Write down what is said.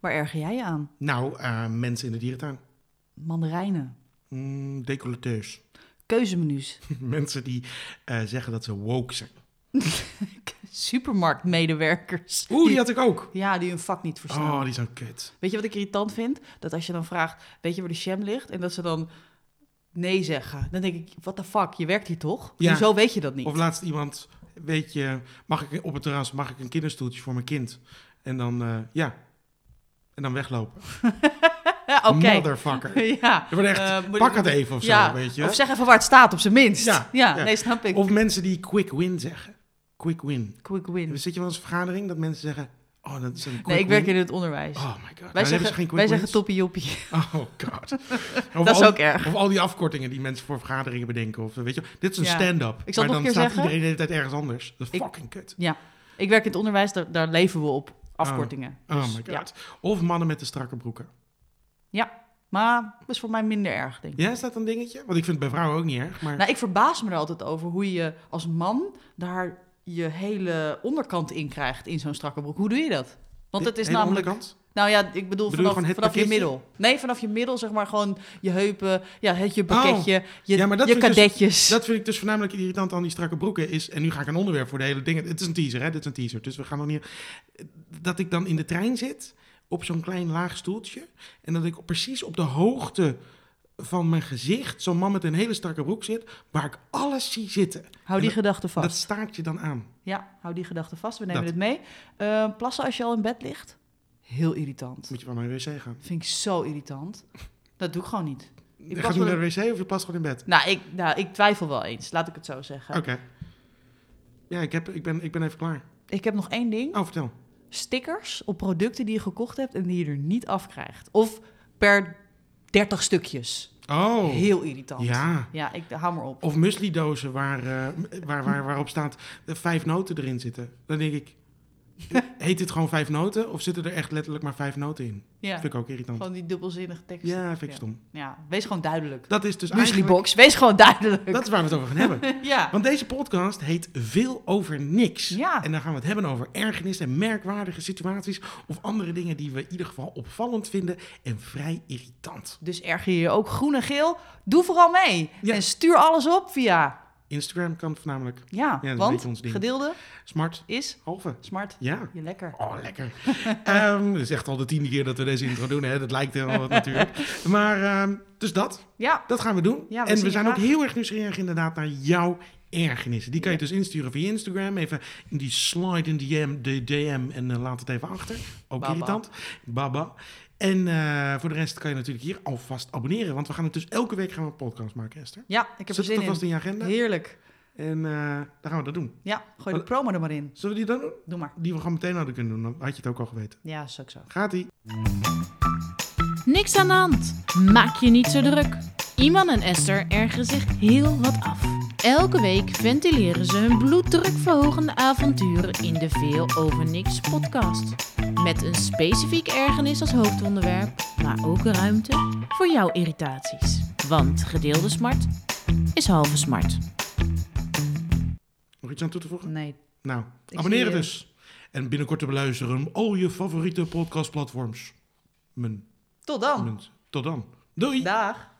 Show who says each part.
Speaker 1: Waar erger jij je aan?
Speaker 2: Nou, eh, mensen in de dierentuin.
Speaker 1: Mandarijnen.
Speaker 2: Mm, decolleteurs.
Speaker 1: Keuzemenu's.
Speaker 2: mensen die eh, zeggen dat ze woke zijn.
Speaker 1: Supermarktmedewerkers.
Speaker 2: Oeh, die had ik ook.
Speaker 1: Ja, die hun vak niet verstaan.
Speaker 2: Oh, die zijn kut.
Speaker 1: Weet je wat ik irritant vind? Dat als je dan vraagt, weet je waar de sham ligt? En dat ze dan nee zeggen. Dan denk ik, what the fuck, je werkt hier toch?
Speaker 2: Ja.
Speaker 1: Hoezo weet je dat niet?
Speaker 2: Of laatst iemand, weet je, mag ik op het terras, mag ik een kinderstoeltje voor mijn kind? En dan, eh, ja. En dan weglopen.
Speaker 1: Ja, Oké.
Speaker 2: Motherfucker.
Speaker 1: ja.
Speaker 2: Er wordt echt,
Speaker 1: Eh, moet-
Speaker 2: pak het even of zo,
Speaker 1: ja.
Speaker 2: weet je.
Speaker 1: Of zeg even waar het staat, op zijn minst.
Speaker 2: Ja,
Speaker 1: Ja,
Speaker 2: ja.
Speaker 1: nee, snap ik.
Speaker 2: Of mensen die quick win zeggen. Quick win.
Speaker 1: Quick win.
Speaker 2: Zit je wel eens in een vergadering dat mensen zeggen... Oh, dat is een Dus quick
Speaker 1: Nee, ik werk
Speaker 2: win.
Speaker 1: in het onderwijs.
Speaker 2: Oh my god. Nou,
Speaker 1: wij
Speaker 2: hebben ze
Speaker 1: zeggen,
Speaker 2: geen quick
Speaker 1: wij zeggen
Speaker 2: wins.
Speaker 1: toppie joppie.
Speaker 2: Oh god. Of
Speaker 1: Dat is
Speaker 2: al-
Speaker 1: ook erg.
Speaker 2: Of al die afkortingen die mensen voor vergaderingen bedenken. Of, eh, weet je, dit is een
Speaker 1: Ja.
Speaker 2: stand-up.
Speaker 1: Ik zal
Speaker 2: maar
Speaker 1: nog
Speaker 2: dan
Speaker 1: een keer
Speaker 2: staat
Speaker 1: zeggen.
Speaker 2: iedereen de hele tijd ergens anders. Dat is
Speaker 1: Ik-
Speaker 2: fucking kut.
Speaker 1: Ik werk in het onderwijs, daar, daar leven we op. Afkortingen.
Speaker 2: Oh
Speaker 1: Dus,
Speaker 2: my god.
Speaker 1: Ja.
Speaker 2: Of mannen met de strakke broeken.
Speaker 1: Maar dat is voor mij minder erg, denk ik.
Speaker 2: Ja, is dat een dingetje? Want ik vind het bij vrouwen ook niet erg. Maar
Speaker 1: Nou, ik verbaas me er altijd over hoe je als man daar je hele onderkant in krijgt in zo'n strakke broek. Hoe doe je dat? Want het is
Speaker 2: Hele
Speaker 1: namelijk...
Speaker 2: onderkant?
Speaker 1: Nou ja, ik bedoel,
Speaker 2: je
Speaker 1: vanaf,
Speaker 2: gewoon het
Speaker 1: vanaf je
Speaker 2: pakketje?
Speaker 1: middel. Nee, vanaf je middel, zeg maar, gewoon je heupen, ja, het je pakketje, je,
Speaker 2: Oh. Ja, maar dat
Speaker 1: je
Speaker 2: vind ik dus-
Speaker 1: kadetjes.
Speaker 2: Dat vind ik dus voornamelijk irritant aan die strakke broeken is... En nu ga ik een onderwerp voor de hele ding... Het is een teaser, hè? Dit is een teaser. Dus we gaan nog niet... Dat ik dan in de trein zit op zo'n klein laag stoeltje... En dat ik op- precies op de hoogte van mijn gezicht... Zo'n man met een hele strakke broek zit... Waar ik alles zie zitten.
Speaker 1: Hou die
Speaker 2: dat-
Speaker 1: gedachten vast.
Speaker 2: Dat staart je dan aan.
Speaker 1: Ja, hou die gedachten vast. We nemen
Speaker 2: Dat.
Speaker 1: het mee. Eh, plassen als je al in bed ligt? Heel irritant.
Speaker 2: Moet je wel naar de wc gaan.
Speaker 1: Vind ik zo irritant. Dat doe ik gewoon niet.
Speaker 2: Ik
Speaker 1: plas
Speaker 2: gaat niet
Speaker 1: wel-
Speaker 2: naar de wc of je past gewoon in bed?
Speaker 1: Nou ik, nou, ik twijfel wel eens. Laat ik het zo zeggen.
Speaker 2: Oké. Ja, ik, heb, ik, ben, ik ben even klaar.
Speaker 1: Ik heb nog één ding.
Speaker 2: Oh, vertel.
Speaker 1: stickers op producten die je gekocht hebt en die je er niet afkrijgt. Of per 30 stukjes.
Speaker 2: Oh.
Speaker 1: Heel irritant.
Speaker 2: Ja.
Speaker 1: Ja, ik hou maar op.
Speaker 2: Of muesli-dozen waar, eh, m- waar, waar, waarop staat eh, vijf noten erin zitten. Dan denk ik, heet dit gewoon vijf noten of zitten er echt letterlijk maar vijf noten in?
Speaker 1: Ja,
Speaker 2: Vind ik ook irritant.
Speaker 1: gewoon die dubbelzinnige teksten.
Speaker 2: Ja, vind ik stom.
Speaker 1: Ja, wees gewoon duidelijk.
Speaker 2: Dat is dus eigenlijk...
Speaker 1: Mueslibox, wees gewoon duidelijk.
Speaker 2: Dat is waar we het over gaan hebben.
Speaker 1: Ja.
Speaker 2: Want deze podcast heet Veel over niks.
Speaker 1: Ja.
Speaker 2: En dan gaan we het hebben over ergernissen en merkwaardige situaties. Of andere dingen die we in ieder geval opvallend vinden en vrij irritant.
Speaker 1: Dus erger je je ook groen en geel? Doe vooral mee.
Speaker 2: Ja.
Speaker 1: En stuur alles op via...
Speaker 2: Instagram kan voornamelijk.
Speaker 1: Ja,
Speaker 2: dat is een
Speaker 1: want
Speaker 2: beetje ons ding.
Speaker 1: gedeelde
Speaker 2: Smart,
Speaker 1: is
Speaker 2: halve.
Speaker 1: smart.
Speaker 2: Ja.
Speaker 1: Je lekker.
Speaker 2: Oh, lekker. Ehm dat is echt al de tiende keer dat we deze intro doen. Hè? Dat lijkt helemaal wat natuurlijk. Maar ehm, dus dat,
Speaker 1: Ja,
Speaker 2: dat gaan we doen.
Speaker 1: Ja, we zien
Speaker 2: en we
Speaker 1: je
Speaker 2: zijn ook
Speaker 1: graag.
Speaker 2: heel erg nieuwsgierig inderdaad naar jouw ergernissen. Die kan je dus insturen via Instagram. Even in die slide in DM, de DM en eh, laat het even achter. Ook
Speaker 1: Baba.
Speaker 2: irritant. Baba. En eh, voor de rest kan je natuurlijk hier alvast abonneren. Want we gaan het dus elke week gaan we een podcast maken, Esther.
Speaker 1: ja ik heb er
Speaker 2: Zet het
Speaker 1: zin
Speaker 2: alvast
Speaker 1: in.
Speaker 2: in je agenda.
Speaker 1: Heerlijk.
Speaker 2: En eh, dan gaan we dat doen.
Speaker 1: Ja, gooi de promo er maar in.
Speaker 2: Zullen we die dan doen?
Speaker 1: Doe maar.
Speaker 2: Die we gewoon meteen hadden kunnen doen. Dan had je het ook al geweten.
Speaker 1: Ja, zo zo.
Speaker 2: Gaat-ie.
Speaker 3: Niks aan de hand. Maak je niet zo druk. Iman en Esther ergeren zich heel wat af. Elke week ventileren ze hun bloeddrukverhogende avonturen in de Veel Over Niks podcast. Met een specifiek ergernis als hoofdonderwerp, maar ook ruimte voor jouw irritaties. Want gedeelde smart is halve smart.
Speaker 2: Nog iets aan toe te voegen?
Speaker 1: Nee,
Speaker 2: Nou,
Speaker 1: zie
Speaker 2: abonneer
Speaker 1: je.
Speaker 2: dus. En binnenkort te beluisteren op al je favoriete podcastplatforms. Mijn,
Speaker 1: tot dan.
Speaker 2: mijn. Tot dan. Doei!
Speaker 1: Dag.